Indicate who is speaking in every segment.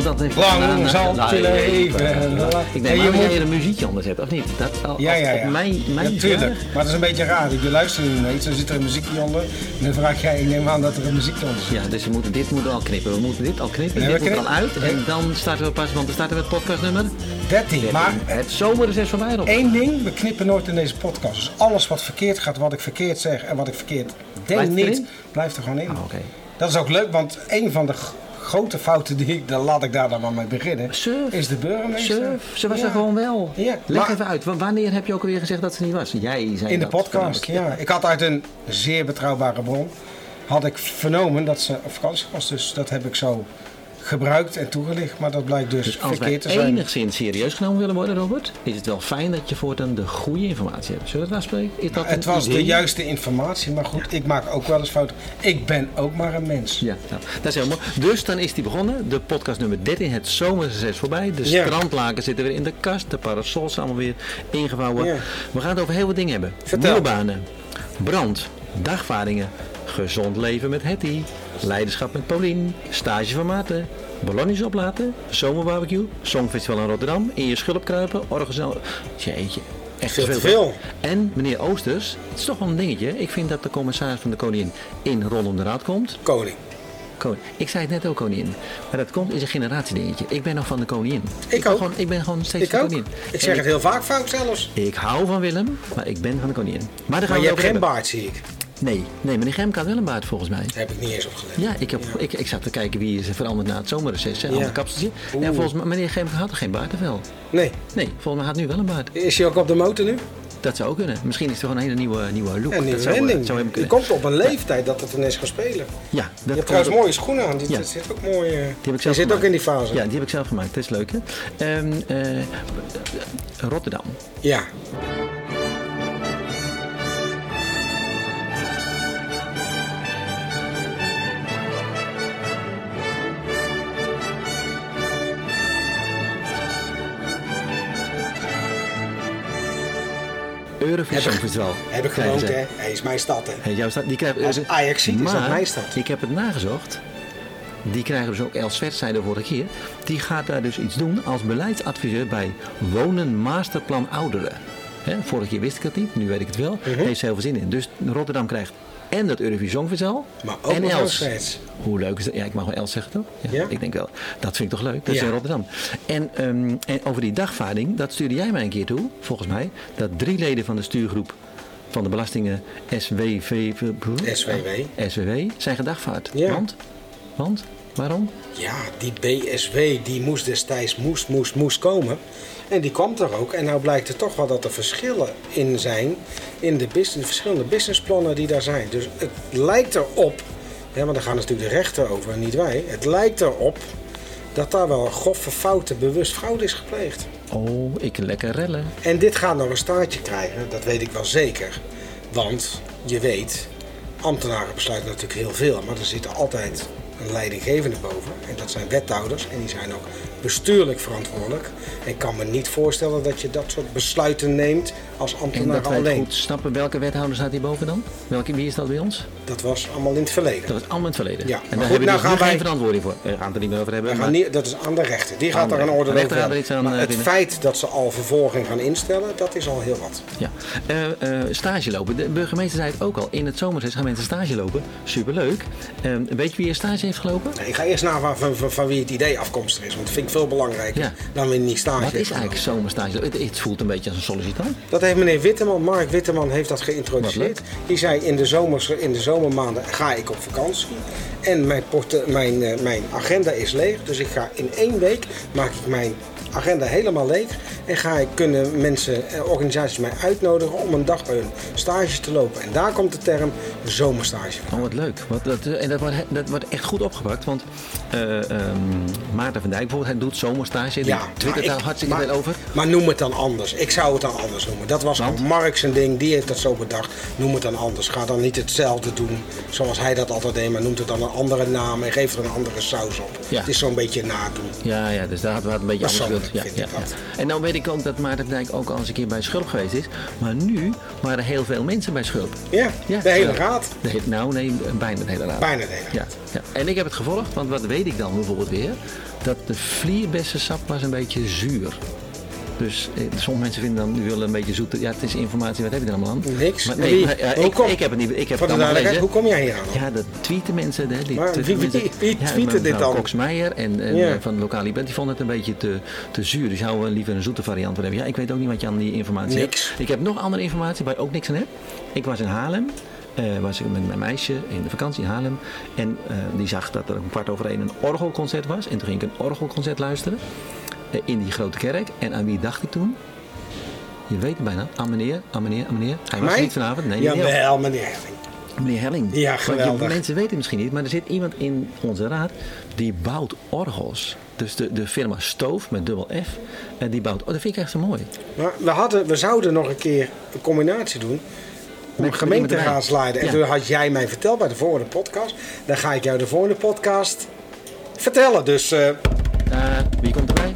Speaker 1: lang zal
Speaker 2: nou,
Speaker 1: te
Speaker 2: nee, nee,
Speaker 1: leven.
Speaker 2: Ik denk
Speaker 1: En je
Speaker 2: maar dat
Speaker 1: moet-
Speaker 2: jij de muziekje anders hebt, of niet? Dat, al-
Speaker 1: Ja,
Speaker 2: als-
Speaker 1: ja,
Speaker 2: op
Speaker 1: ja.
Speaker 2: Mijn, mijn
Speaker 1: ja, tuurlijk.
Speaker 2: vraag-
Speaker 1: Maar het is een beetje raar. Je luistert nu naar iets, dan zit er een muziekje onder. En dan vraag jij, ik neem aan dat er een muziekje onder zit.
Speaker 2: Ja, dus we moeten, dit moeten we al knippen. We moeten dit al knippen,
Speaker 1: Nee,
Speaker 2: dit
Speaker 1: we
Speaker 2: moet er al
Speaker 1: knippen-
Speaker 2: uit. En dan starten we pas, want dan starten we het podcastnummer.
Speaker 1: 13. Maar
Speaker 2: Het zomerreces voorbij, Rob.
Speaker 1: één ding, we knippen nooit in deze podcast. Dus alles wat verkeerd gaat, wat ik verkeerd zeg en wat ik verkeerd denk
Speaker 2: Blijft
Speaker 1: niet,
Speaker 2: erin?
Speaker 1: blijft er gewoon in.
Speaker 2: Ah, oké.
Speaker 1: Dat is ook leuk, want een van de g- grote fouten die ik, dan laat ik daar dan maar mee beginnen,
Speaker 2: Surf.
Speaker 1: is de burgemeester.
Speaker 2: Surf, ze was
Speaker 1: Ja.
Speaker 2: er gewoon wel.
Speaker 1: Ja.
Speaker 2: Leg
Speaker 1: Maar-
Speaker 2: even uit, wa- wanneer heb je ook alweer gezegd dat ze niet was? Jij zei
Speaker 1: In de
Speaker 2: dat,
Speaker 1: podcast,
Speaker 2: geloof ik.
Speaker 1: ja. Ik had uit een zeer betrouwbare bron, had ik vernomen dat ze op vakantie was. Dus dat heb ik zo gebruikt en toegelicht. Maar dat blijkt dus,
Speaker 2: Dus als wij
Speaker 1: verkeerd te zijn.
Speaker 2: enigszins serieus genomen willen worden, Robert, is het wel fijn dat je voortaan de goede informatie hebt. Zullen we het afspreken? Is dat
Speaker 1: Het
Speaker 2: een
Speaker 1: was de
Speaker 2: idee?
Speaker 1: juiste informatie, maar goed, ik maak ook wel eens fouten. Ik ben ook maar een mens.
Speaker 2: Ja, nou, dat is heel mooi. Dus dan is die begonnen. De podcast nummer 13, het zomerreces voorbij. De
Speaker 1: Ja.
Speaker 2: strandlaken zitten weer in de kast. De parasols zijn allemaal weer ingevouwen.
Speaker 1: Ja.
Speaker 2: We gaan het over heel wat dingen hebben.
Speaker 1: Vertel.
Speaker 2: Wielbanen, brand, dagvaardingen, gezond leven met Hetty, leiderschap met Paulien, stage van Maarten, ballonjes oplaten, zomerbarbecue, songfestival in Rotterdam, in je schulp kruipen, orgel... Jeetje. Echt
Speaker 1: Veel te
Speaker 2: En meneer Oosters, het is toch wel een dingetje. Ik vind dat de commissaris van de Koningin in Rondom de Raad komt.
Speaker 1: Koning.
Speaker 2: Koning. Ik zei het net ook koningin. Maar dat komt is een generatiedingetje. Ik ben nog van de koningin.
Speaker 1: Ik
Speaker 2: ben
Speaker 1: ook.
Speaker 2: Gewoon, ik ben gewoon steeds
Speaker 1: Ik
Speaker 2: de
Speaker 1: ook.
Speaker 2: koningin.
Speaker 1: Ik
Speaker 2: En
Speaker 1: zeg het heel vaak fout zelfs.
Speaker 2: Ik hou van Willem, maar ik ben van de koningin. Maar daar gaan Nou, we
Speaker 1: Maar
Speaker 2: het
Speaker 1: je hebt
Speaker 2: over
Speaker 1: geen
Speaker 2: hebben.
Speaker 1: baard, zie ik.
Speaker 2: Nee, nee, meneer Gemka had wel een baard volgens mij.
Speaker 1: Daar heb ik niet eens op gelet.
Speaker 2: Ja, ik, heb, Ik, ik zat te kijken wie is er veranderd na het zomerreces. hè,
Speaker 1: Ja.
Speaker 2: Ander kapseltje.
Speaker 1: Oeh.
Speaker 2: En volgens mij, meneer Gemka had er geen baard of wel?
Speaker 1: Nee.
Speaker 2: Nee, volgens mij had nu wel een baard.
Speaker 1: Is hij ook op de motor nu?
Speaker 2: Dat zou ook kunnen. Misschien is er gewoon een hele nieuwe, nieuwe look.
Speaker 1: En die
Speaker 2: dat zou, eh,
Speaker 1: wending.
Speaker 2: zou hem
Speaker 1: Die
Speaker 2: kunnen.
Speaker 1: komt op een leeftijd dat het ineens gaat spelen.
Speaker 2: Ja, dat
Speaker 1: Je
Speaker 2: komt
Speaker 1: hebt trouwens
Speaker 2: ook.
Speaker 1: mooie schoenen aan. Die,
Speaker 2: Ja.
Speaker 1: dat zit ook mooi. eh,
Speaker 2: Die heb ik
Speaker 1: je
Speaker 2: zelf
Speaker 1: zit ook
Speaker 2: gemaakt.
Speaker 1: in die fase.
Speaker 2: Ja, die heb ik zelf gemaakt. Dat is leuk, hè? Ehm, eh, Rotterdam.
Speaker 1: ja.
Speaker 2: Eurovision Festival.
Speaker 1: Heb ik
Speaker 2: Krijgen
Speaker 1: gewoond,
Speaker 2: ze.
Speaker 1: hè? Hij is mijn stad, hè?
Speaker 2: Hey, jouw stad, die krijgt,
Speaker 1: Als Ajaxiet is dat
Speaker 2: Maar,
Speaker 1: mijn stad.
Speaker 2: ik heb het nagezocht. Die krijgen dus ook Els Vert, zei de vorige keer. Die gaat daar dus iets doen als beleidsadviseur bij Wonen Masterplan Ouderen. Hè, vorige keer wist ik dat niet, nu weet ik het wel.
Speaker 1: Mhm.
Speaker 2: Heeft ze heel veel zin in. Dus Rotterdam krijgt en dat Eurovisie Songfestival.
Speaker 1: Maar ook
Speaker 2: en
Speaker 1: nog
Speaker 2: Els.
Speaker 1: Els.
Speaker 2: Hoe leuk is dat? Ja, ik mag wel Els zeggen toch?
Speaker 1: Ja?
Speaker 2: Ik denk wel. Dat vind ik toch leuk? Dat is
Speaker 1: Ja.
Speaker 2: in Rotterdam. En, ehm, en over die dagvaarding, dat stuurde jij mij een keer toe, volgens mij. Dat drie leden van de stuurgroep van de belastingen SWV,
Speaker 1: SWW.
Speaker 2: SWW zijn gedagvaard.
Speaker 1: Ja.
Speaker 2: Want? Want? Waarom?
Speaker 1: Ja, die BSW die moest destijds moest, moest, moest komen. En die kwam er ook. En nou blijkt er toch wel dat er verschillen in zijn. In de, bus- de verschillende businessplannen die daar zijn. Dus het lijkt erop. Ja, maar daar gaan natuurlijk de rechter over en niet wij. Het lijkt erop dat daar wel een grove fouten bewust fraude is gepleegd.
Speaker 2: Oh, ik lekker rellen.
Speaker 1: En dit gaat nog een staartje krijgen, dat weet ik wel zeker. Want je weet, ambtenaren besluiten natuurlijk heel veel, maar er zit altijd een leidinggevende boven. En dat zijn wethouders en die zijn ook bestuurlijk verantwoordelijk. En ik kan me niet voorstellen dat je dat soort besluiten neemt als
Speaker 2: En
Speaker 1: ambtenaar
Speaker 2: dat wij het
Speaker 1: alleen.
Speaker 2: goed snappen, welke wethouder staat hierboven dan? Welke, wie is dat bij ons?
Speaker 1: Dat was allemaal in het verleden.
Speaker 2: Dat is allemaal in het verleden.
Speaker 1: Ja,
Speaker 2: en
Speaker 1: maar
Speaker 2: daar
Speaker 1: goed,
Speaker 2: hebben we
Speaker 1: nou
Speaker 2: dus nu
Speaker 1: gaan wij-
Speaker 2: geen verantwoording voor. We gaan het er niet meer over hebben.
Speaker 1: We
Speaker 2: maar-
Speaker 1: gaan niet, dat is aan de rechter. Die gaat
Speaker 2: de
Speaker 1: daar een oordeel
Speaker 2: rechter. De rechter
Speaker 1: over
Speaker 2: gaat er
Speaker 1: hebben.
Speaker 2: iets aan,
Speaker 1: Maar
Speaker 2: eh,
Speaker 1: het
Speaker 2: vinden.
Speaker 1: feit dat ze al vervolging gaan instellen, dat is al heel wat.
Speaker 2: Ja. Eh, eh, stage lopen. De burgemeester zei het ook al. In het zomerreces gaan mensen stage lopen. Superleuk. Eh, weet je wie er stage heeft gelopen?
Speaker 1: Ik ga eerst naar van, van, van wie het idee afkomstig is, want dat vind ik veel belangrijker
Speaker 2: Ja.
Speaker 1: dan wanneer die stage
Speaker 2: Wat
Speaker 1: heeft
Speaker 2: is eigenlijk
Speaker 1: gedaan.
Speaker 2: zomerstage? Het, het voelt een beetje als een sollicitant.
Speaker 1: Dat heeft meneer Witteman, Mark Witteman heeft dat geïntroduceerd.
Speaker 2: Wat
Speaker 1: Die zei in de, zomers, in de zomermaanden ga ik op vakantie en mijn, porte, mijn, eh, mijn agenda is leeg. Dus ik ga in één week maak ik mijn agenda helemaal leeg en ga ik kunnen mensen, eh, organisaties mij uitnodigen om een dag bij hun stage te lopen. En daar komt de term zomerstage van.
Speaker 2: Oh, wat leuk. Wat, dat, eh, en dat wordt, dat wordt echt goed opgepakt. Want eh, ehm, Maarten van Dijk bijvoorbeeld, hij doet zomerstage. Ja, twittert
Speaker 1: maar
Speaker 2: daar
Speaker 1: ik-
Speaker 2: hartstikke
Speaker 1: maar-
Speaker 2: veel over.
Speaker 1: Maar noem het dan anders. Ik zou het dan anders noemen. Dat was
Speaker 2: Want?
Speaker 1: Marx een ding, die heeft dat zo bedacht. Noem het dan anders. Ga dan niet hetzelfde doen zoals hij dat altijd deed, maar noemt het dan een andere naam en geef er een andere saus op.
Speaker 2: Ja.
Speaker 1: Het is zo'n beetje nadoen.
Speaker 2: Ja, ja, dus daar had we had een beetje
Speaker 1: Dat is
Speaker 2: anders Klopt, ja,
Speaker 1: vind
Speaker 2: ja,
Speaker 1: ik
Speaker 2: ja.
Speaker 1: dat.
Speaker 2: En nou weet ik ook dat Maarten Dijk ook al eens een keer bij Schulp geweest is. Maar nu waren er heel veel mensen bij Schulp.
Speaker 1: Ja, de hele
Speaker 2: ja.
Speaker 1: raad.
Speaker 2: De he- nou, nee, bijna de hele raad.
Speaker 1: Bijna de hele raad.
Speaker 2: Ja, ja. En ik heb het gevolgd, want wat weet ik dan bijvoorbeeld weer? Dat de vlierbessensap was een beetje zuur. Dus eh, sommige mensen vinden dan, die willen een beetje zoete. Ja, het is informatie, wat heb je er allemaal aan?
Speaker 1: Niks.
Speaker 2: Maar
Speaker 1: Wie?
Speaker 2: nee, maar, ja,
Speaker 1: Hoe
Speaker 2: ik,
Speaker 1: kom-
Speaker 2: ik heb het niet. Ik heb
Speaker 1: Voor
Speaker 2: het
Speaker 1: de
Speaker 2: allemaal
Speaker 1: duidelijkheid,
Speaker 2: gelezen.
Speaker 1: hoe kom jij hier aan?
Speaker 2: Ja, dat tweeten mensen. Hè, die
Speaker 1: Maar
Speaker 2: twitteren
Speaker 1: wie- wie-
Speaker 2: mensen.
Speaker 1: wie
Speaker 2: Ja,
Speaker 1: tweeten
Speaker 2: mevrouw
Speaker 1: dit dan?
Speaker 2: Koksmeijer en, en
Speaker 1: Ja.
Speaker 2: eh, van de lokale event, die vonden het een beetje te, te zuur. Dus houden we liever een zoete variant van hebben. Ja, ik weet ook niet wat je aan die informatie
Speaker 1: Niks.
Speaker 2: hebt. Ik heb nog andere informatie waar ik ook niks aan heb. Ik was in Haarlem. eh, was ik met mijn meisje in de vakantie in Haarlem. En eh, die zag dat er om kwart over één een orgelconcert was. En toen ging ik een orgelconcert luisteren. eh, in die grote kerk. En aan wie dacht ik toen? Je weet het bijna. Aan meneer, aan meneer, aan meneer. Hij was er
Speaker 1: Mij?
Speaker 2: niet vanavond. Nee, meneer.
Speaker 1: Jawel, meneer Helling.
Speaker 2: Meneer Helling.
Speaker 1: Ja,
Speaker 2: want je-
Speaker 1: geweldig.
Speaker 2: mensen weten het misschien niet, maar er zit iemand in onze raad die bouwt orgels. Dus de, de firma Stoof met dubbel F, en die bouwt. Oh, dat vind ik echt zo mooi.
Speaker 1: Maar we, hadden, we zouden nog een keer een combinatie doen. Om
Speaker 2: Met-
Speaker 1: gemeente te
Speaker 2: met mij.
Speaker 1: gaan sliden. En
Speaker 2: Ja.
Speaker 1: toen had jij mij verteld bij de volgende podcast. Dan ga ik jou de volgende podcast vertellen. Dus eh,
Speaker 2: Eh, wie komt erbij?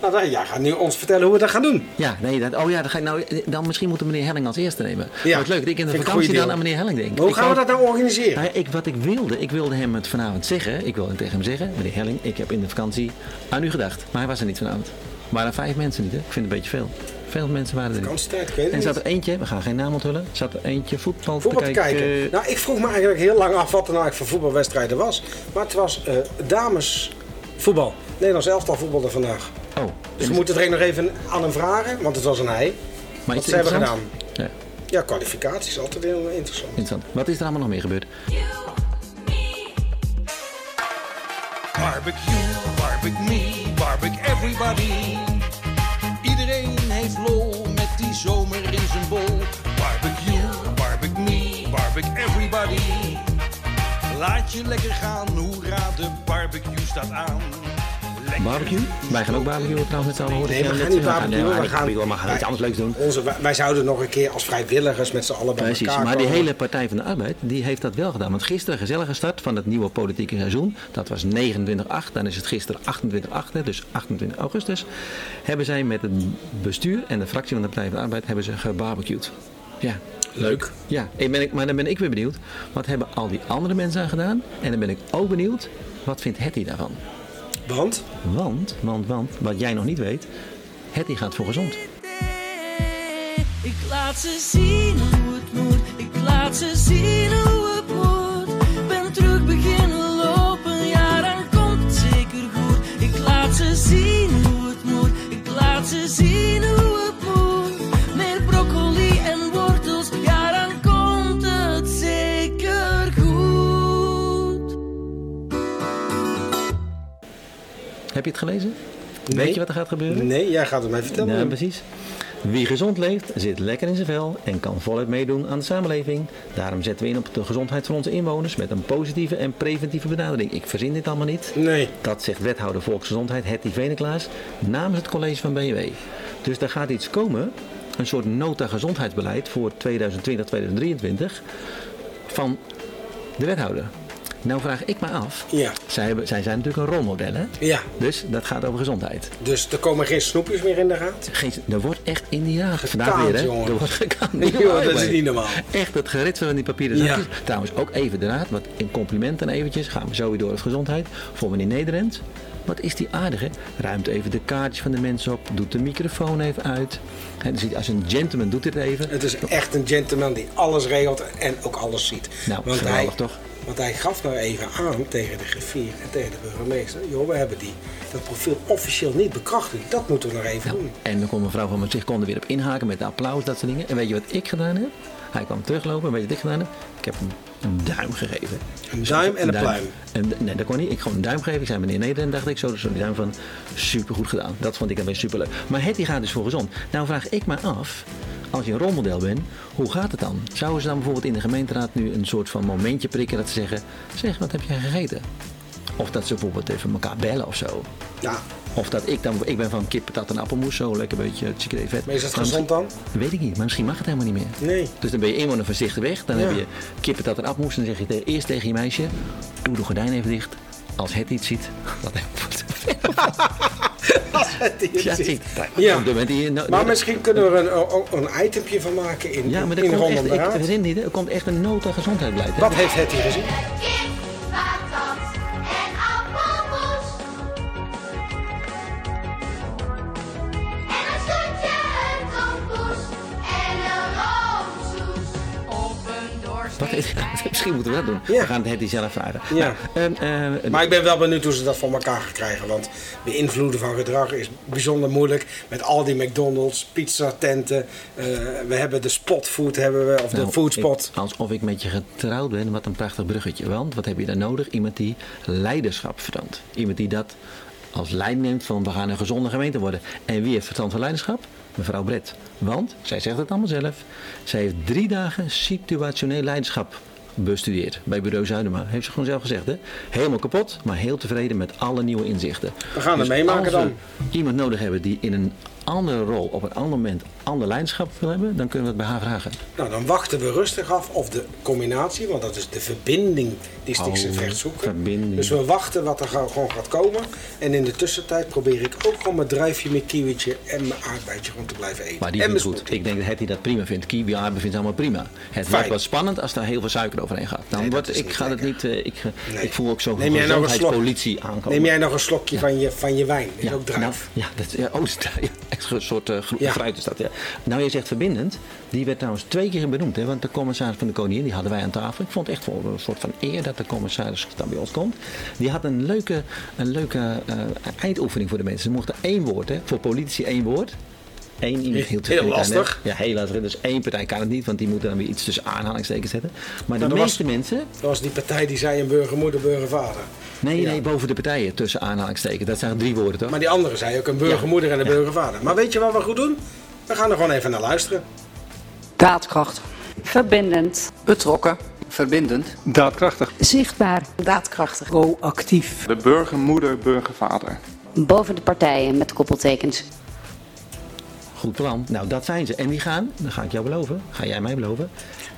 Speaker 1: nou, dan- jij gaat nu ons vertellen hoe we dat gaan doen.
Speaker 2: Ja, nee, dat, oh ja, dan, ga ik nou, dan misschien moeten we meneer Helling als eerste nemen. Ja, maar het leuk dat ik in de
Speaker 1: vind ik een
Speaker 2: vakantie
Speaker 1: goeie
Speaker 2: dan
Speaker 1: deal.
Speaker 2: aan meneer Helling denk.
Speaker 1: Maar hoe
Speaker 2: Ik
Speaker 1: gaan we
Speaker 2: ook-
Speaker 1: dat nou organiseren?
Speaker 2: Nou ja, ik, wat ik wilde, ik wilde hem het vanavond zeggen. Ik wilde tegen hem zeggen, meneer Helling, ik heb in de vakantie aan u gedacht. Maar hij was er niet vanavond. Er waren vijf mensen niet, hè? Ik vind het een beetje veel. Veel mensen waren er niet.
Speaker 1: Vakantietijd, ik weet het
Speaker 2: En zat
Speaker 1: niet.
Speaker 2: er eentje, we gaan geen naam onthullen, zat er eentje voetbal,
Speaker 1: Voetbal te kijken.
Speaker 2: eh,
Speaker 1: Nou, ik vroeg me eigenlijk heel lang af wat er nou eigenlijk voor voetbalwedstrijden was. Maar het was eh, damesvoetbal. Nederlands elftal voetbalde vandaag.
Speaker 2: Oh,
Speaker 1: Dus we moeten er nog even aan hem vragen, want het was een hij.
Speaker 2: maar
Speaker 1: Wat
Speaker 2: is
Speaker 1: ze
Speaker 2: het
Speaker 1: hebben gedaan.
Speaker 2: interessant? Ja,
Speaker 1: Ja, kwalificaties, altijd heel interessant.
Speaker 2: interessant. Wat is er allemaal nog meer gebeurd?
Speaker 3: You, me,
Speaker 4: Barbecue, barbecue me, barbecue everybody. Iedereen heeft lol met die zomer in zijn bol. Barbecue, barbecue me, barbecue everybody. Laat je lekker gaan, hoera, de barbecue staat aan. Lekker
Speaker 2: Barbecue? Wij gaan ook barbecuen trouwens met z'n allen. hoor ik
Speaker 1: Nee, we
Speaker 2: jou
Speaker 1: gaan
Speaker 2: net
Speaker 1: niet
Speaker 2: zeggen.
Speaker 1: barbecuen,
Speaker 2: nee,
Speaker 1: we gaan-
Speaker 2: barbecuen, maar we gaan iets anders leuks doen.
Speaker 1: Onze, wij wij zouden nog een keer als vrijwilligers met z'n allen bij
Speaker 2: Precies,
Speaker 1: elkaar
Speaker 2: maar die
Speaker 1: komen.
Speaker 2: hele Partij van de Arbeid die heeft dat wel gedaan. Want gisteren gezellige start van het nieuwe politieke seizoen. Dat was 29-8, dan is het gisteren 28-8, hè, dus 28 augustus. Hebben zij met het bestuur en de fractie van de Partij van de Arbeid hebben ze gebarbecued. Ja.
Speaker 1: Leuk.
Speaker 2: Ja, ik ben, maar dan ben ik weer benieuwd. Wat hebben al die andere mensen aan gedaan? En dan ben ik ook benieuwd, wat vindt Hetty daarvan?
Speaker 1: Want,
Speaker 2: Want, want, want, wat jij nog niet weet, Hetty gaat voor gezond.
Speaker 5: Ik laat ze zien hoe het moet. Ik laat ze zien hoe het moet. Ben terug beginnen lopen, ja dan komt het zeker goed. Ik laat ze zien hoe het moet. Ik laat ze zien hoe het moet. Meer broccoli en wortels, ja dan komt het zeker goed.
Speaker 2: Heb je het gelezen?
Speaker 1: Nee.
Speaker 2: Weet je wat er gaat gebeuren?
Speaker 1: nee, jij gaat het mij vertellen.
Speaker 2: Ja, precies. Wie gezond leeft, zit lekker in zijn vel en kan voluit meedoen aan de samenleving. Daarom zetten we in op de gezondheid van onze inwoners met een positieve en preventieve benadering. Ik verzin dit allemaal niet.
Speaker 1: nee,
Speaker 2: Dat zegt wethouder volksgezondheid Hetty Veneklaas namens het college van BW. Dus daar gaat iets komen, een soort nota gezondheidsbeleid voor 2020-2023 van de wethouder. Nou vraag ik me af,
Speaker 1: Ja.
Speaker 2: zij, hebben, zij zijn natuurlijk een rolmodel hè?
Speaker 1: Ja.
Speaker 2: Dus dat gaat over gezondheid.
Speaker 1: dus er komen geen snoepjes meer in de raad.
Speaker 2: Geen, er wordt echt in die raad vandaag
Speaker 1: Gekaand,
Speaker 2: weer, hè?
Speaker 1: jongen.
Speaker 2: Er wordt gekaand.
Speaker 1: Joh,
Speaker 2: Niet normaal,
Speaker 1: dat is
Speaker 2: jongen.
Speaker 1: niet normaal.
Speaker 2: Echt het geritsel van die papieren
Speaker 1: Ja.
Speaker 2: zakjes. Trouwens, ook even de raad, want in complimenten eventjes gaan we zo weer door het gezondheid. Voor meneer Nederend. Wat is die aardige? Ruimt even de kaartjes van de mensen op. Doet de microfoon even uit. Hè, dus als een gentleman doet dit even.
Speaker 1: Het is echt een gentleman die alles regelt en ook alles ziet.
Speaker 2: Nou,
Speaker 1: want
Speaker 2: geweldig,
Speaker 1: hij,
Speaker 2: toch?
Speaker 1: Want hij gaf nou even aan tegen de griffier en tegen de burgemeester. Joh, we hebben die, dat profiel officieel niet bekrachtigd. Dat moeten we nog even
Speaker 2: Nou,
Speaker 1: doen.
Speaker 2: en dan kon mevrouw van zich kon er weer op inhaken met de applaus, dat soort dingen. En weet je wat ik gedaan heb? Hij kwam teruglopen, en weet je wat ik gedaan heb? Ik heb hem een duim gegeven.
Speaker 1: Een duim en een pluim.
Speaker 2: En, nee, dat kon niet. Ik gewoon een duim geven. Ik zei meneer Nederland, dacht ik. Zo, dus een duim van supergoed gedaan. Dat vond ik dan weer superleuk. Maar het die gaat dus voor gezond. Nou vraag ik me af, als je een rolmodel bent, hoe gaat het dan? Zouden ze dan bijvoorbeeld in de gemeenteraad nu een soort van momentje prikken dat ze zeggen, zeg, wat heb jij gegeten? Of dat ze bijvoorbeeld even elkaar bellen of zo.
Speaker 1: Ja,
Speaker 2: Of dat ik dan, ik ben van kip, patat en appelmoes, zo lekker een beetje chicre vet.
Speaker 1: Maar is dat
Speaker 2: Maar
Speaker 1: gezond
Speaker 2: misschien-
Speaker 1: dan?
Speaker 2: Dat weet ik niet, maar misschien mag het helemaal niet meer.
Speaker 1: Nee.
Speaker 2: Dus dan ben je inwoner voorzichtig weg, dan
Speaker 1: Ja.
Speaker 2: heb je kip, patat en appelmoes. En dan zeg je tegen, eerst tegen je meisje, doe de gordijn even dicht. Als het iets ziet, dat heeft Ja, zie, daar-
Speaker 1: Ja.
Speaker 2: op dit moment hier, nou,
Speaker 1: Maar
Speaker 2: nou,
Speaker 1: misschien kunnen we er een, een, een itempje van maken in,
Speaker 2: Ja, maar er
Speaker 1: in
Speaker 2: komt
Speaker 1: Ron
Speaker 2: echt,
Speaker 1: en Braat.
Speaker 2: ik weet het niet, hè, er komt echt een nood aan gezondheidsbeleid. hè.
Speaker 1: Wat heeft Hetty gezien?
Speaker 6: kip, patat en appelmoes. En een stukje een tompoes en een roomsoes. Op een
Speaker 2: Wat
Speaker 6: doorsnee.
Speaker 2: is- misschien moeten we dat doen.
Speaker 1: Ja.
Speaker 2: We gaan het die zelf vragen.
Speaker 1: Ja.
Speaker 2: Nou, ehm, ehm,
Speaker 1: Maar ik ben wel benieuwd hoe ze dat voor elkaar gaan krijgen. Want beïnvloeden van gedrag is bijzonder moeilijk. Met al die McDonald's, pizzatenten. eh we hebben de spotfood, hebben we, of
Speaker 2: nou,
Speaker 1: de foodspot.
Speaker 2: ik- alsof ik met je getrouwd ben, wat een prachtig bruggetje. Want wat heb je dan nodig? Iemand die leiderschap vertoont. Iemand die dat als lijn neemt van we gaan een gezonde gemeente worden. En wie heeft verstand van leiderschap? Mevrouw Brett. Want, zij zegt het allemaal zelf, zij heeft drie dagen situationeel leiderschap bestudeerd bij Bureau Zuidema. Heeft ze gewoon zelf gezegd, hè? Helemaal kapot, maar heel tevreden met alle nieuwe inzichten. Dus
Speaker 1: We gaan het meemaken
Speaker 2: als we
Speaker 1: dan.
Speaker 2: iemand nodig hebben die in een andere rol, op een ander moment, ander leiderschap wil hebben, dan kunnen we het bij haar vragen.
Speaker 1: Nou, dan wachten we rustig af of de combinatie, want dat is de verbinding die Stiekse
Speaker 2: Oh,
Speaker 1: Vecht zoeken.
Speaker 2: verbinding.
Speaker 1: Dus we wachten wat er gauw- gewoon gaat komen. En in de tussentijd probeer ik ook gewoon mijn druifje, mijn kiwietje en mijn aardbeidje gewoon te blijven eten.
Speaker 2: Maar die
Speaker 1: en
Speaker 2: vindt
Speaker 1: mijn
Speaker 2: goed.
Speaker 1: smoothie.
Speaker 2: Ik denk dat Hetty dat prima vindt. Kiwi aardappel vindt ze allemaal prima. Het
Speaker 1: Fijn.
Speaker 2: wordt wel spannend als daar heel veel suiker overheen gaat. Dan
Speaker 1: Nee, dat
Speaker 2: wordt,
Speaker 1: is
Speaker 2: ik
Speaker 1: niet
Speaker 2: ga dat niet.
Speaker 1: lekker.
Speaker 2: eh, ik, eh,
Speaker 1: Nee.
Speaker 2: ik voel ook zo'n
Speaker 1: Neem jij nog een slok?
Speaker 2: gezondheidspolitie aankomen.
Speaker 1: Neem jij nog een slokje van, je, van je wijn? Is ook
Speaker 2: nou,
Speaker 1: druif.
Speaker 2: ja, dat, ja, oh, sta- ja, echt een soort eh, groen-
Speaker 1: Ja.
Speaker 2: fruit is dat. Ja. Nou, jij zegt verbindend. Die werd trouwens twee keer benoemd. Hè, want de commissaris van de koningin, die hadden wij aan tafel. Ik vond het echt voor een soort van eer dat de commissaris dan bij ons komt. Die had een leuke, een leuke eh, eindoefening voor de mensen. Ze mochten één woord, hè, voor politici één woord. Eén iemand hield zich
Speaker 1: Heel
Speaker 2: niet aan, hè.
Speaker 1: lastig.
Speaker 2: Ja, heel lastig. Dus één partij kan het niet, want die moet dan weer iets tussen aanhalingstekens zetten. Maar de
Speaker 1: er was-
Speaker 2: meeste mensen
Speaker 1: Dat was die partij die zei een burgermoeder, burgervader.
Speaker 2: Nee,
Speaker 1: Ja.
Speaker 2: nee, boven de partijen tussen aanhalingstekens. Dat zijn drie woorden toch?
Speaker 1: Maar die andere zei ook een burgermoeder en een burgervader. Maar weet je wat we goed doen? We gaan er gewoon even naar luisteren.
Speaker 7: Daadkracht.
Speaker 8: Verbindend.
Speaker 7: Betrokken.
Speaker 9: Verbindend.
Speaker 10: Daadkrachtig.
Speaker 8: Zichtbaar.
Speaker 7: Daadkrachtig.
Speaker 10: Proactief. De burgermoeder, burgervader.
Speaker 8: Boven de partijen met koppeltekens.
Speaker 2: Goed plan. Nou, dat zijn ze. En die gaan, dat ga ik jou beloven, ga jij mij beloven,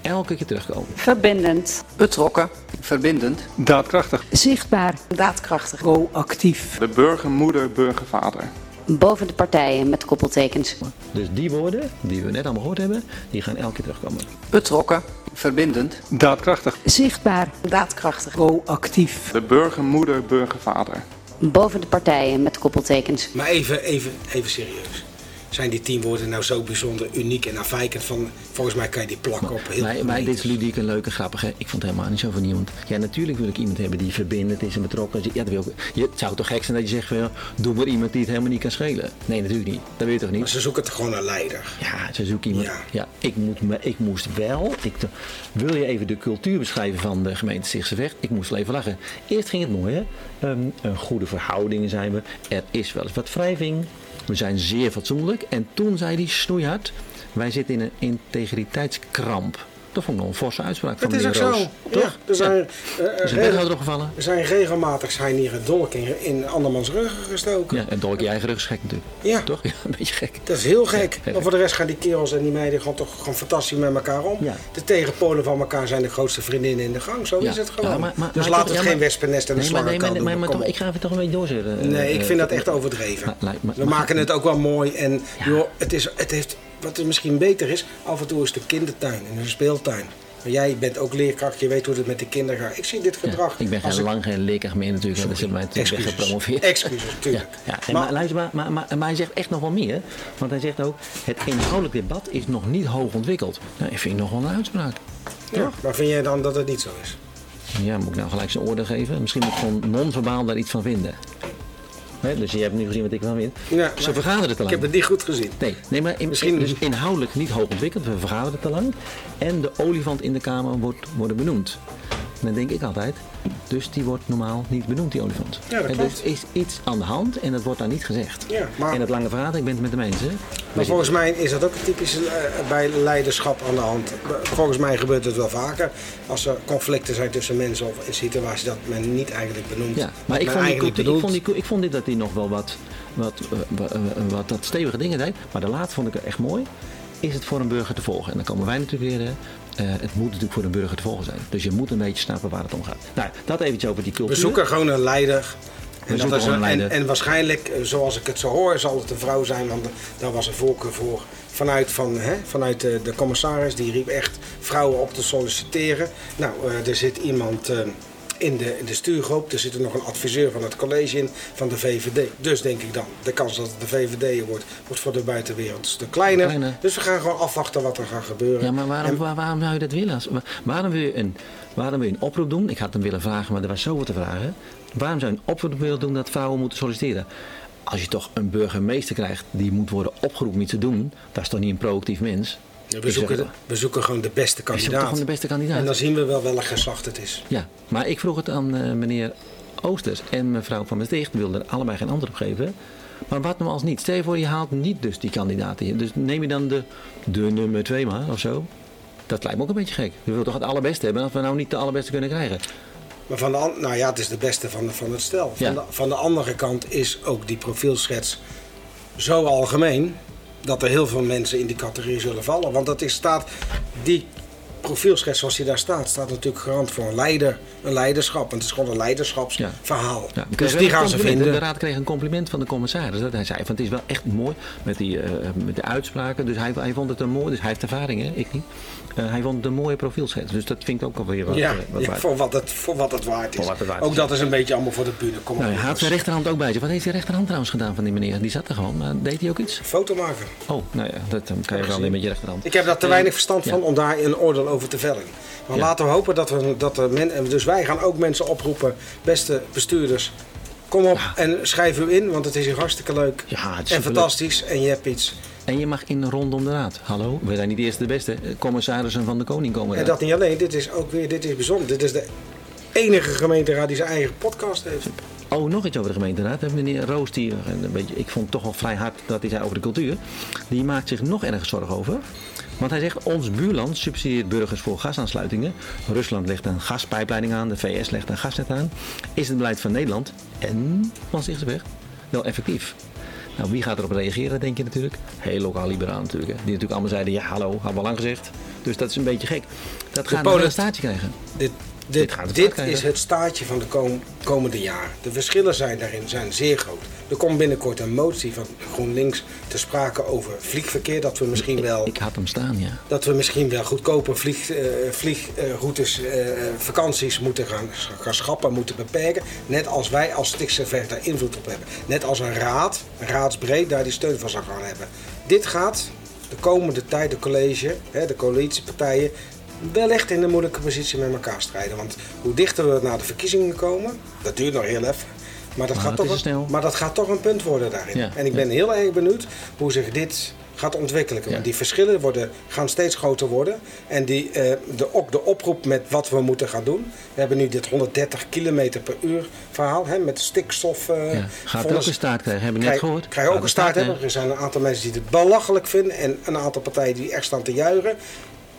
Speaker 2: elke keer terugkomen.
Speaker 8: Verbindend.
Speaker 7: Betrokken.
Speaker 9: Verbindend.
Speaker 10: Daadkrachtig.
Speaker 8: Zichtbaar.
Speaker 7: Daadkrachtig.
Speaker 10: Proactief. De burgermoeder, burgervader.
Speaker 8: Boven de partijen met koppeltekens.
Speaker 2: Dus die woorden, die we net allemaal gehoord hebben, die gaan elke keer terugkomen.
Speaker 7: Betrokken.
Speaker 9: Verbindend.
Speaker 10: Daadkrachtig.
Speaker 8: Zichtbaar.
Speaker 7: Daadkrachtig.
Speaker 10: Proactief. De burgermoeder, burgervader.
Speaker 8: Boven de partijen met koppeltekens.
Speaker 1: Maar even, even, even serieus. Zijn die tien woorden nou zo bijzonder uniek en afwijkend? Van, volgens mij kan je die plakken op heel
Speaker 2: Maar,
Speaker 1: veel
Speaker 2: maar dit is
Speaker 1: gemeentes.
Speaker 2: ludiek en leuk en grappig. Hè? Ik vond het helemaal niet zo vernieuwend. Ja, natuurlijk wil ik iemand hebben die verbindend is en betrokken is. Ja, dat wil ik. Je, het zou toch gek zijn dat je zegt van, ja, doe maar iemand die het helemaal niet kan schelen. Nee, natuurlijk niet. Dat weet je toch niet?
Speaker 1: Maar ze zoeken toch gewoon een leider.
Speaker 2: Ja, ze zoeken iemand.
Speaker 1: Ja.
Speaker 2: Ja, ik, moet me, ik moest wel. Ik, te- wil je even de cultuur beschrijven van de gemeente Zichtseweg? Ik moest wel even lachen. Eerst ging het mooi, hè? Ehm, een goede verhoudingen zijn we. Er is wel eens wat wrijving. We zijn zeer fatsoenlijk. En toen zei hij snoeihard: Wij zitten in een integriteitskramp. Dat vond ik nog een forse uitspraak van
Speaker 1: Dat is ook
Speaker 2: meneer
Speaker 1: zo.
Speaker 2: Roos.
Speaker 1: Ja,
Speaker 2: Toch?
Speaker 1: er zijn,
Speaker 2: Ja.
Speaker 1: eh, eh,
Speaker 2: Is een
Speaker 1: regel-
Speaker 2: wethouder opgevallen?
Speaker 1: er zijn regelmatig zijn hier een dolk in, in andermans ruggen gestoken.
Speaker 2: Ja, en dolk je eigen rug is gek natuurlijk.
Speaker 1: Ja.
Speaker 2: Toch? Ja, een beetje gek.
Speaker 1: Dat is heel gek.
Speaker 2: heel
Speaker 1: maar voor de rest gaan die kerels en die meiden gewoon toch gewoon fantastisch met elkaar om.
Speaker 2: Ja.
Speaker 1: De tegenpolen van elkaar zijn de grootste vriendinnen in de gang. Zo
Speaker 2: Ja.
Speaker 1: is het gewoon.
Speaker 2: Ja, maar- maar-
Speaker 1: dus
Speaker 2: maar
Speaker 1: laat
Speaker 2: toch-
Speaker 1: het
Speaker 2: ja,
Speaker 1: geen
Speaker 2: maar-
Speaker 1: wespenest en een
Speaker 2: Nee, maar, nee,
Speaker 1: slangenkuil
Speaker 2: maar,
Speaker 1: doen.
Speaker 2: maar, maar
Speaker 1: Kom
Speaker 2: toch,
Speaker 1: op.
Speaker 2: ik ga even toch een beetje doorzetten.
Speaker 1: Nee, ik vind dat echt
Speaker 2: Maar-
Speaker 1: overdreven.
Speaker 2: maar- maar-
Speaker 1: We maken het ook wel mooi en joh, het is, het heeft, wat er misschien beter is, af en toe is de kindertuin en een speeltuin. Maar jij bent ook leerkracht, je weet hoe het met de kinderen gaat. Ik zie dit gedrag.
Speaker 2: Ja, ik ben
Speaker 1: als
Speaker 2: geen, lang geen leerkracht meer natuurlijk, want dan zijn wij natuurlijk
Speaker 1: Excuses.
Speaker 2: weggepromoveerd.
Speaker 1: Excuses, tuurlijk.
Speaker 2: Ja, ja. Nee, maar,
Speaker 1: Maar-
Speaker 2: luister, maar, maar, maar, maar hij zegt echt nog wel meer. Want hij zegt ook, het inhoudelijk debat is nog niet hoog ontwikkeld. Nou, ik vind nog wel een uitspraak.
Speaker 1: Ja, maar vind jij dan dat het niet zo is?
Speaker 2: Ja, moet ik nou gelijk zijn oordeel geven? Misschien moet ik gewoon non-verbaal daar iets van vinden. Hè, dus je hebt nu gezien wat ik van vind.
Speaker 1: Ja,
Speaker 2: Ze
Speaker 1: maar-
Speaker 2: vergaderen het
Speaker 1: Ik
Speaker 2: alleen.
Speaker 1: heb het niet goed gezien.
Speaker 2: Nee, nee maar in,
Speaker 1: Misschien-
Speaker 2: dus inhoudelijk niet hoog ontwikkeld. We vergaderen te lang. En de olifant in de Kamer wordt worden benoemd. En dan denk ik altijd, dus die wordt normaal niet benoemd, die olifant.
Speaker 1: Ja, dat
Speaker 2: en
Speaker 1: klopt.
Speaker 2: Er is iets aan de hand en dat wordt daar niet gezegd.
Speaker 1: Ja, maar-
Speaker 2: En dat lange vergadering, ik ben het met de mensen.
Speaker 1: Maar volgens mij is dat ook typisch eh, bij leiderschap aan de hand. Volgens mij gebeurt het wel vaker als er conflicten zijn tussen mensen of in situaties dat men niet eigenlijk benoemt.
Speaker 2: Ja,
Speaker 1: wat
Speaker 2: maar ik
Speaker 1: men
Speaker 2: vond, die,
Speaker 1: eigenlijk
Speaker 2: cultuur- ik,
Speaker 1: bedoelt.
Speaker 2: vond die- ik vond dit dat hij nog wel wat, wat, eh, wa- eh, wat, wat stevige dingen deed. Maar de laatste vond ik echt mooi. Is het voor een burger te volgen? En dan komen wij natuurlijk weer. eh, eh, het moet natuurlijk voor een burger te volgen zijn. Dus je moet een beetje snappen waar het om gaat. Nou, dat eventjes over die cultuur.
Speaker 1: We zoeken gewoon een leider En, dat
Speaker 2: zoeken
Speaker 1: is een-
Speaker 2: online
Speaker 1: en,
Speaker 2: de-
Speaker 1: en waarschijnlijk, eh, zoals ik het zo hoor, zal het een vrouw zijn, want daar was een voorkeur voor vanuit, van, hè, vanuit de, de commissaris. Die riep echt vrouwen op te solliciteren. Nou, eh, er zit iemand eh, in, de, in de stuurgroep, er zit er nog een adviseur van het college in, van de VVD. Dus denk ik dan, de kans dat het de VVD wordt, wordt voor de buitenwereld een stuk kleiner.
Speaker 2: Kleiner.
Speaker 1: Dus we gaan gewoon afwachten wat er gaat gebeuren.
Speaker 2: Ja, maar waarom,
Speaker 1: En-
Speaker 2: waar- waarom zou je dat willen? Als- wa- waarom, wil je een, waarom wil je een oproep doen? Ik had hem willen vragen, maar er was zoveel te vragen. Waarom zou je een oproep willen doen dat vrouwen moeten solliciteren? Als je toch een burgemeester krijgt die moet worden opgeroepen iets te doen, dat is toch niet een proactief mens?
Speaker 1: we,
Speaker 2: Ik zeg
Speaker 1: zoeken,
Speaker 2: het
Speaker 1: de- we zoeken gewoon de beste
Speaker 2: zoeken
Speaker 1: kandidaat.
Speaker 2: gewoon de beste kandidaat.
Speaker 1: En dan zien we wel welk geslacht het is.
Speaker 2: Ja, maar ik vroeg het aan eh, meneer Oosters en mevrouw van Maastricht. wilden er allebei geen antwoord op geven. Maar wat nou als niet? Stel je voor, je haalt niet dus die kandidaat in. Dus neem je dan de, de nummer twee maar of zo. Dat lijkt me ook een beetje gek. Je wilt toch het allerbeste hebben als we nou niet de allerbeste kunnen krijgen.
Speaker 1: Maar van de, an- nou ja, het is de beste van, de- van het stel. Van,
Speaker 2: Ja.
Speaker 1: de, van de andere kant is ook die profielschets zo algemeen dat er heel veel mensen in die categorie zullen vallen. Want dat is, staat, die profielschets zoals die daar staat, staat natuurlijk garant voor een leider, een leiderschap. Want het is gewoon een leiderschapsverhaal.
Speaker 2: Ja, we kregen
Speaker 1: dus
Speaker 2: wel
Speaker 1: die
Speaker 2: een
Speaker 1: gaan ze
Speaker 2: compliment.
Speaker 1: vinden.
Speaker 2: Nou, De raad kreeg een compliment van de commissaris. Dat hij zei van het is wel echt mooi met, die, eh, met de uitspraken. Dus hij, hij vond het een mooi. Dus hij heeft ervaring, hè? ik niet. Eh, hij vond het een mooie profielschets. Dus dat vind ik ook alweer wat,
Speaker 1: Ja,
Speaker 2: eh, wat
Speaker 1: ja,
Speaker 2: waard.
Speaker 1: voor, wat het, voor wat het waard is.
Speaker 2: Voor wat het waard
Speaker 1: ook
Speaker 2: is,
Speaker 1: dat is een beetje allemaal voor de bühne. Kom
Speaker 2: Nou,
Speaker 1: op,
Speaker 2: hij had
Speaker 1: jongens.
Speaker 2: zijn rechterhand ook bij zich. Wat heeft die rechterhand trouwens gedaan van die meneer? Die zat er gewoon, maar deed hij ook iets?
Speaker 1: Foto maken.
Speaker 2: Oh, nou ja, dat eh, kan je wel alleen met je rechterhand.
Speaker 1: Ik heb daar te weinig verstand
Speaker 2: ja.
Speaker 1: van om daar een oordeel over te vellen. Maar
Speaker 2: Ja.
Speaker 1: laten we hopen dat we dat er men, en dus wij gaan ook mensen oproepen, beste bestuurders, kom op en schrijf u in, want het is hier hartstikke leuk
Speaker 2: Ja, het is
Speaker 1: en
Speaker 2: superleuk.
Speaker 1: fantastisch en je hebt iets.
Speaker 2: En je mag in rondom de raad. Hallo, we zijn niet de eerste de beste. Eh, Commissarissen van de koning komen
Speaker 1: En
Speaker 2: eraan.
Speaker 1: dat niet alleen, dit is ook weer, dit is bijzonder. Dit is de enige gemeenteraad die zijn eigen podcast heeft.
Speaker 2: Oh, nog iets over de gemeenteraad. Eh, Meneer Roos, die, eh, een beetje, ik vond het toch wel vrij hard dat hij zei over de cultuur. Die maakt zich nog ergens zorgen over. Want hij zegt, ons buurland subsidieert burgers voor gasaansluitingen. Rusland legt een gaspijpleiding aan, de VS legt een gasnet aan. Is het beleid van Nederland en van Zichtsweg wel effectief? Nou, wie gaat erop reageren, denk je natuurlijk? Heel lokaal liberaal natuurlijk. Hè. Die natuurlijk allemaal zeiden, ja hallo, hadden we al lang gezegd. Dus dat is een beetje gek. Dat gaat
Speaker 1: Polen-
Speaker 2: een staartje krijgen.
Speaker 1: Dit,
Speaker 2: Dit
Speaker 1: dit,
Speaker 2: gaat het
Speaker 1: dit
Speaker 2: uitkijken.
Speaker 1: is het staartje van de kom- komende jaren. De verschillen zijn daarin zijn zeer groot. Er komt binnenkort een motie van GroenLinks te sprake over vliegverkeer. Dat we misschien wel
Speaker 2: Ik had hem staan, ja.
Speaker 1: dat we misschien wel goedkoper vlieg, eh, vliegroutes, eh, vakanties moeten gaan, gaan schappen, moeten beperken. Net als wij als Stichtseverg daar invloed op hebben. Net als een raad, een raadsbreed, daar die steun van zou gaan hebben. Dit gaat de komende tijd de college, hè, de coalitiepartijen, wel echt in een moeilijke positie met elkaar strijden. Want hoe dichter we naar de verkiezingen komen, dat duurt nog heel even. Maar dat,
Speaker 2: Maar
Speaker 1: gaat
Speaker 2: dat
Speaker 1: toch
Speaker 2: is
Speaker 1: een,
Speaker 2: snel.
Speaker 1: maar dat gaat toch een punt worden daarin.
Speaker 2: Ja,
Speaker 1: en ik
Speaker 2: ja.
Speaker 1: ben heel erg benieuwd hoe zich dit gaat ontwikkelen. Want
Speaker 2: Ja.
Speaker 1: die verschillen worden, gaan steeds groter worden. En die, eh, de, ook de oproep met wat we moeten gaan doen. We hebben nu dit 130 km per uur verhaal hè, met stikstof. eh,
Speaker 2: ja. Gaat ook
Speaker 1: vonnis.
Speaker 2: een staart krijgen, hebben we net
Speaker 1: Krijg-
Speaker 2: gehoord.
Speaker 1: Krijg ook
Speaker 2: Gaat
Speaker 1: een staart hebben.
Speaker 2: krijgen.
Speaker 1: Er zijn een aantal mensen die het belachelijk vinden. En een aantal partijen die echt staan te juichen.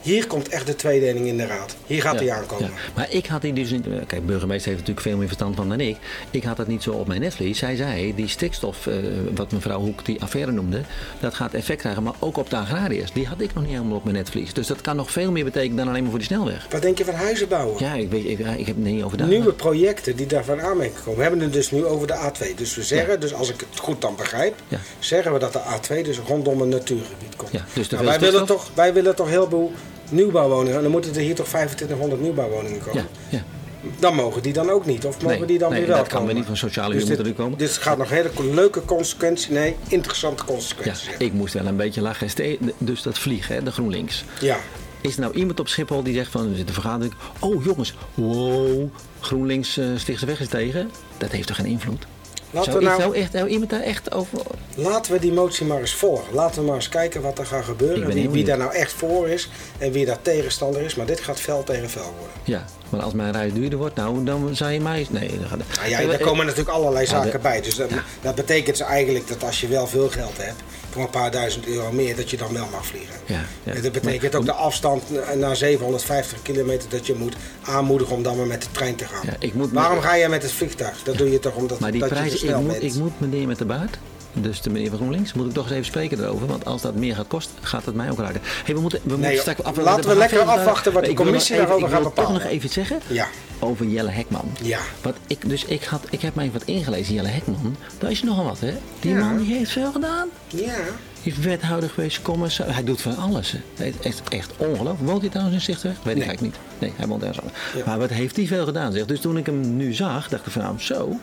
Speaker 1: Hier komt echt de tweedeling in de raad. Hier gaat hij
Speaker 2: Ja,
Speaker 1: aankomen.
Speaker 2: ja. Maar ik had die dus niet. Kijk, burgemeester heeft natuurlijk veel meer verstand van dan ik. Ik had dat niet zo op mijn netvlies. Zij zei, die stikstof, eh, wat mevrouw Hoek die affaire noemde, dat gaat effect krijgen. Maar ook op de agrariërs. Die had ik nog niet helemaal op mijn netvlies. Dus dat kan nog veel meer betekenen dan alleen maar voor die snelweg.
Speaker 1: Wat denk je van huizen bouwen?
Speaker 2: Ja, ik, weet, ik, ik heb er niet over nagedacht.
Speaker 1: Nieuwe projecten die daarvan aanmerking komen. We hebben het dus nu over de A2. Dus we zeggen, dus als ik het goed dan begrijp,
Speaker 2: Ja.
Speaker 1: zeggen we dat de A2 dus rondom een natuurgebied komt.
Speaker 2: Ja, dus te
Speaker 1: Nou,
Speaker 2: veel
Speaker 1: wij, willen
Speaker 2: stikstof.
Speaker 1: toch, wij willen toch heel veel nieuwbouwwoningen. En dan moeten er hier toch 2500 nieuwbouwwoningen komen.
Speaker 2: Ja, ja.
Speaker 1: Dan mogen die dan ook niet. Of mogen
Speaker 2: Nee,
Speaker 1: die dan
Speaker 2: nee,
Speaker 1: weer wel
Speaker 2: dat kan
Speaker 1: komen?
Speaker 2: weer niet van sociale
Speaker 1: dus
Speaker 2: huur
Speaker 1: dit-
Speaker 2: moeten er komen.
Speaker 1: Dit gaat nog hele leuke consequenties. Nee, interessante
Speaker 2: ja,
Speaker 1: consequenties. hebben.
Speaker 2: ik moest wel een beetje lachen. Ste- Dus dat vliegen, hè, de GroenLinks.
Speaker 1: ja.
Speaker 2: Is er nou iemand op Schiphol die zegt van, er zit een vergadering. Oh jongens, wow, GroenLinks eh Stichtse Weg is tegen. Dat heeft toch geen invloed?
Speaker 1: Laten
Speaker 2: zou,
Speaker 1: we nou-
Speaker 2: zou echt, zou iemand daar echt over...
Speaker 1: Laten we die motie maar eens volgen. Laten we maar eens kijken wat er gaat
Speaker 2: Ik
Speaker 1: gebeuren.
Speaker 2: ben
Speaker 1: Wie,
Speaker 2: heel
Speaker 1: wie daar
Speaker 2: benieuwd.
Speaker 1: nou echt voor is en wie daar tegenstander is. Maar dit gaat vel tegen vel worden.
Speaker 2: Ja, maar als mijn reis duurder wordt, nou, dan zou je mij... Nee, dan gaat het...
Speaker 1: Nou ja, daar komen natuurlijk allerlei
Speaker 2: Ja, de-
Speaker 1: zaken bij. Dus dat, dat betekent dus eigenlijk dat als je wel veel geld hebt, voor een paar duizend euro meer, dat je dan wel mag vliegen.
Speaker 2: Ja, ja.
Speaker 1: En Dat betekent ook de afstand na- naar 750 kilometer dat je moet aanmoedigen om dan maar met de trein te gaan.
Speaker 2: Ja, ik moet met-
Speaker 1: Waarom ga jij met het vliegtuig? Dat doe je toch omdat
Speaker 2: Maar die
Speaker 1: dat je te
Speaker 2: prijzen, ik
Speaker 1: snel
Speaker 2: moet,
Speaker 1: bent.
Speaker 2: ik moet meneer met de baard, dus de meneer van GroenLinks, moet ik toch eens even spreken erover. Want als dat meer gaat kosten, gaat dat mij ook raken. Hey, we moeten, we moeten
Speaker 1: joh,
Speaker 2: straks af-
Speaker 1: laten we
Speaker 2: gaan
Speaker 1: lekker
Speaker 2: veel-
Speaker 1: afwachten wat
Speaker 2: Ik
Speaker 1: die
Speaker 2: wil nog
Speaker 1: commissie
Speaker 2: even-
Speaker 1: daarover gaat
Speaker 2: Ik wil toch
Speaker 1: bepalen.
Speaker 2: nog even iets zeggen
Speaker 1: Ja.
Speaker 2: over Jelle Hekman.
Speaker 1: Ja.
Speaker 2: Wat ik, dus ik, had, ik heb mij wat ingelezen, Jelle Hekman. Dat is nogal wat, hè? Die man die heeft veel gedaan.
Speaker 1: Ja.
Speaker 2: Hij is wethouder geweest, commissaris. Hij doet van alles. hè. Het is echt, echt ongelooflijk. Woont hij trouwens in Stichtweg? Weet ik
Speaker 1: Nee.
Speaker 2: eigenlijk niet. Nee, hij woont ergens anders.
Speaker 1: Ja.
Speaker 2: Maar wat heeft hij veel gedaan? Zeg. Dus toen ik hem nu zag, dacht ik van nou, zo,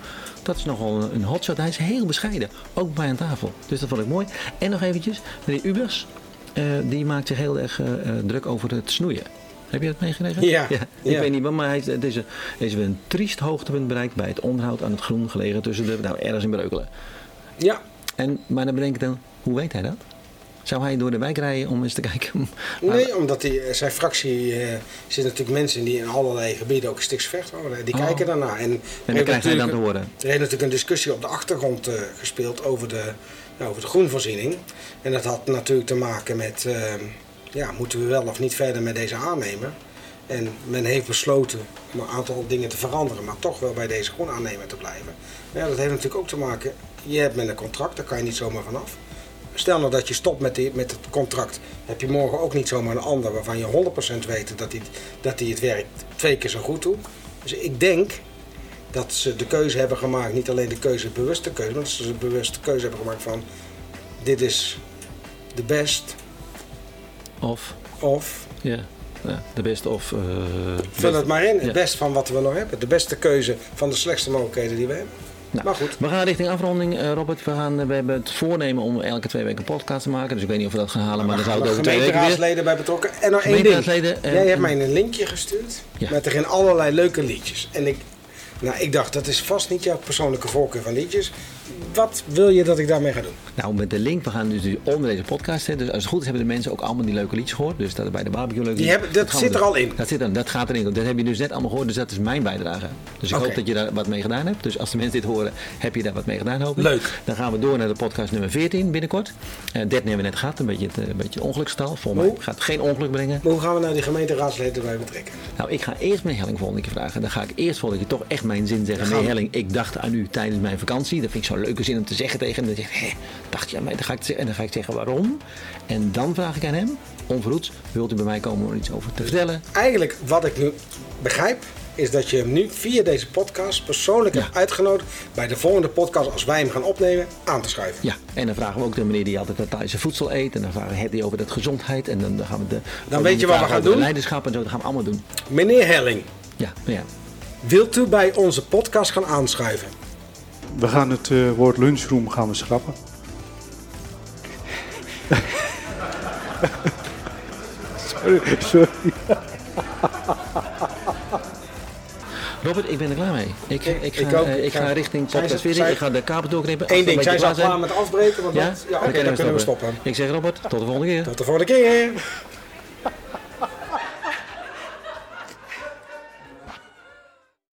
Speaker 2: dat is nogal een- een hotshot. Hij is heel bescheiden, ook bij aan tafel. Dus dat vond ik mooi. En nog eventjes, meneer Ubers, eh, die maakt zich heel erg eh, eh, druk over het snoeien. Heb je dat meegekregen?
Speaker 1: Ja.
Speaker 2: Ik
Speaker 1: Ja.
Speaker 2: weet niet, wat, maar hij is, het is, een- er is weer een triest hoogtepunt bereikt bij het onderhoud aan het groen gelegen tussen de, nou ergens in Breukelen.
Speaker 1: Ja.
Speaker 2: En, maar dan bedenk ik dan, hoe weet hij dat? Zou hij door de wijk rijden om eens te kijken?
Speaker 1: Nee, omdat die, eh, zijn fractie eh, zitten natuurlijk mensen die in allerlei gebieden ook stiks vecht houden. Die
Speaker 2: Oh.
Speaker 1: kijken daarnaar. En,
Speaker 2: En dan krijgt hij dan te horen.
Speaker 1: Er heeft natuurlijk een discussie op de achtergrond eh, gespeeld over de, nou, over de groenvoorziening. En dat had natuurlijk te maken met, eh, ja, moeten we wel of niet verder met deze aannemer? En men heeft besloten om een aantal dingen te veranderen, maar toch wel bij deze groenaannemer te blijven. Maar ja, dat heeft natuurlijk ook te maken, je hebt met een contract, daar kan je niet zomaar vanaf. Stel nou dat je stopt met, die, met het contract, heb je morgen ook niet zomaar een ander waarvan je 100% weet dat hij dat die het werk twee keer zo goed doet. Dus ik denk dat ze de keuze hebben gemaakt, niet alleen de keuze, de bewuste keuze, maar dat ze de bewuste keuze hebben gemaakt van dit is de best
Speaker 2: Of,
Speaker 1: of
Speaker 2: ja, ja, de best of... eh,
Speaker 1: vul het maar in, het
Speaker 2: Ja.
Speaker 1: best van wat we nog hebben. De beste keuze van de slechtste mogelijkheden die we hebben.
Speaker 2: Nou,
Speaker 1: maar goed.
Speaker 2: We gaan richting afronding, eh, Robert. We, gaan, eh, we hebben het voornemen om elke twee weken een podcast te maken. Dus ik weet niet of we dat gaan halen, maar dan
Speaker 1: Daar
Speaker 2: zou
Speaker 1: gaan
Speaker 2: het over twee weken weer...
Speaker 1: gemeenteraadsleden bij betrokken. En nog één ding.
Speaker 2: Gemeenteraadsleden, eh,
Speaker 1: Jij
Speaker 2: en-
Speaker 1: hebt mij een linkje gestuurd
Speaker 2: Ja.
Speaker 1: met erin allerlei leuke liedjes. En ik, nou, ik dacht, dat is vast niet jouw persoonlijke voorkeur van liedjes. Wat wil je dat ik daarmee ga doen?
Speaker 2: Nou, met de link, we gaan dus die onder deze podcast zetten. Dus als het goed is, hebben de mensen ook allemaal die leuke liedjes gehoord. Dus dat er bij de barbecue leuke
Speaker 1: Die
Speaker 2: liedjes-
Speaker 1: hebben- dat
Speaker 2: gaan
Speaker 1: zit
Speaker 2: we
Speaker 1: er
Speaker 2: doen.
Speaker 1: al in.
Speaker 2: Dat, zit er, dat gaat erin. Dat heb je dus net allemaal gehoord, dus dat is mijn bijdrage. Dus ik
Speaker 1: Oké.
Speaker 2: hoop dat je daar wat mee gedaan hebt. Dus als de mensen dit horen, heb je daar wat mee gedaan, hoop ik.
Speaker 1: Leuk.
Speaker 2: Dan gaan we door naar de podcast nummer 14 binnenkort. Eh 13 hebben we net gehad, een beetje, het, eh, een beetje ongelukstal. Volgens mij
Speaker 1: Hoe?
Speaker 2: gaat het geen ongeluk brengen.
Speaker 1: Maar hoe gaan we nou die gemeenteraadsleden erbij betrekken?
Speaker 2: Nou, ik ga eerst mijn Helling volgende keer vragen. Dan ga ik eerst volgende keer toch echt mijn zin zeggen.
Speaker 1: Dan
Speaker 2: Meneer
Speaker 1: gaan we-
Speaker 2: Helling, ik dacht aan u tijdens mijn vakantie. Dat vind ik zo'n leuke zin om te zeggen tegen hem. Dan zegt hij, "Hè, dacht je aan mij? Dan ga ik, het zeggen. en dan ga ik zeggen waarom. En dan vraag ik aan hem, onverhoeds, wilt u bij mij komen om er iets over te vertellen?
Speaker 1: Eigenlijk wat ik nu begrijp is dat je hem nu via deze podcast persoonlijk
Speaker 2: Ja.
Speaker 1: hebt uitgenodigd bij de volgende podcast als wij hem gaan opnemen aan te schuiven.
Speaker 2: Ja, en dan vragen we ook de meneer die altijd dat Thaise voedsel eet. En dan vragen we Hedy over dat gezondheid. En dan gaan we de...
Speaker 1: Dan weet je wat we
Speaker 2: vragen
Speaker 1: gaan
Speaker 2: over
Speaker 1: doen?
Speaker 2: Leiderschap en zo, dat gaan we allemaal doen.
Speaker 1: Meneer Helling,
Speaker 2: Ja, nou ja.
Speaker 1: wilt u bij onze podcast gaan aanschuiven?
Speaker 10: We gaan het eh, woord lunchroom gaan we schrappen. sorry, sorry.
Speaker 2: Robert, ik ben er klaar mee. Ik,
Speaker 1: Ik-
Speaker 2: ik, ga,
Speaker 1: ik ook.
Speaker 2: eh, ik
Speaker 1: Ik
Speaker 2: ga
Speaker 1: ga-
Speaker 2: richting
Speaker 1: Zijn
Speaker 2: podcast
Speaker 1: ze-
Speaker 2: 14.
Speaker 1: zijn-
Speaker 2: Ik ga de kabel doorknippen. als
Speaker 1: Eén
Speaker 2: we een
Speaker 1: ding, zijn
Speaker 2: beetje
Speaker 1: ze al
Speaker 2: klaar
Speaker 1: klaar met afbreken? Want
Speaker 2: Ja?
Speaker 1: dat, ja,
Speaker 2: Dan
Speaker 1: oké, dan kunnen we stoppen.
Speaker 2: Ik zeg Robert, tot de volgende keer.
Speaker 1: Tot de volgende keer.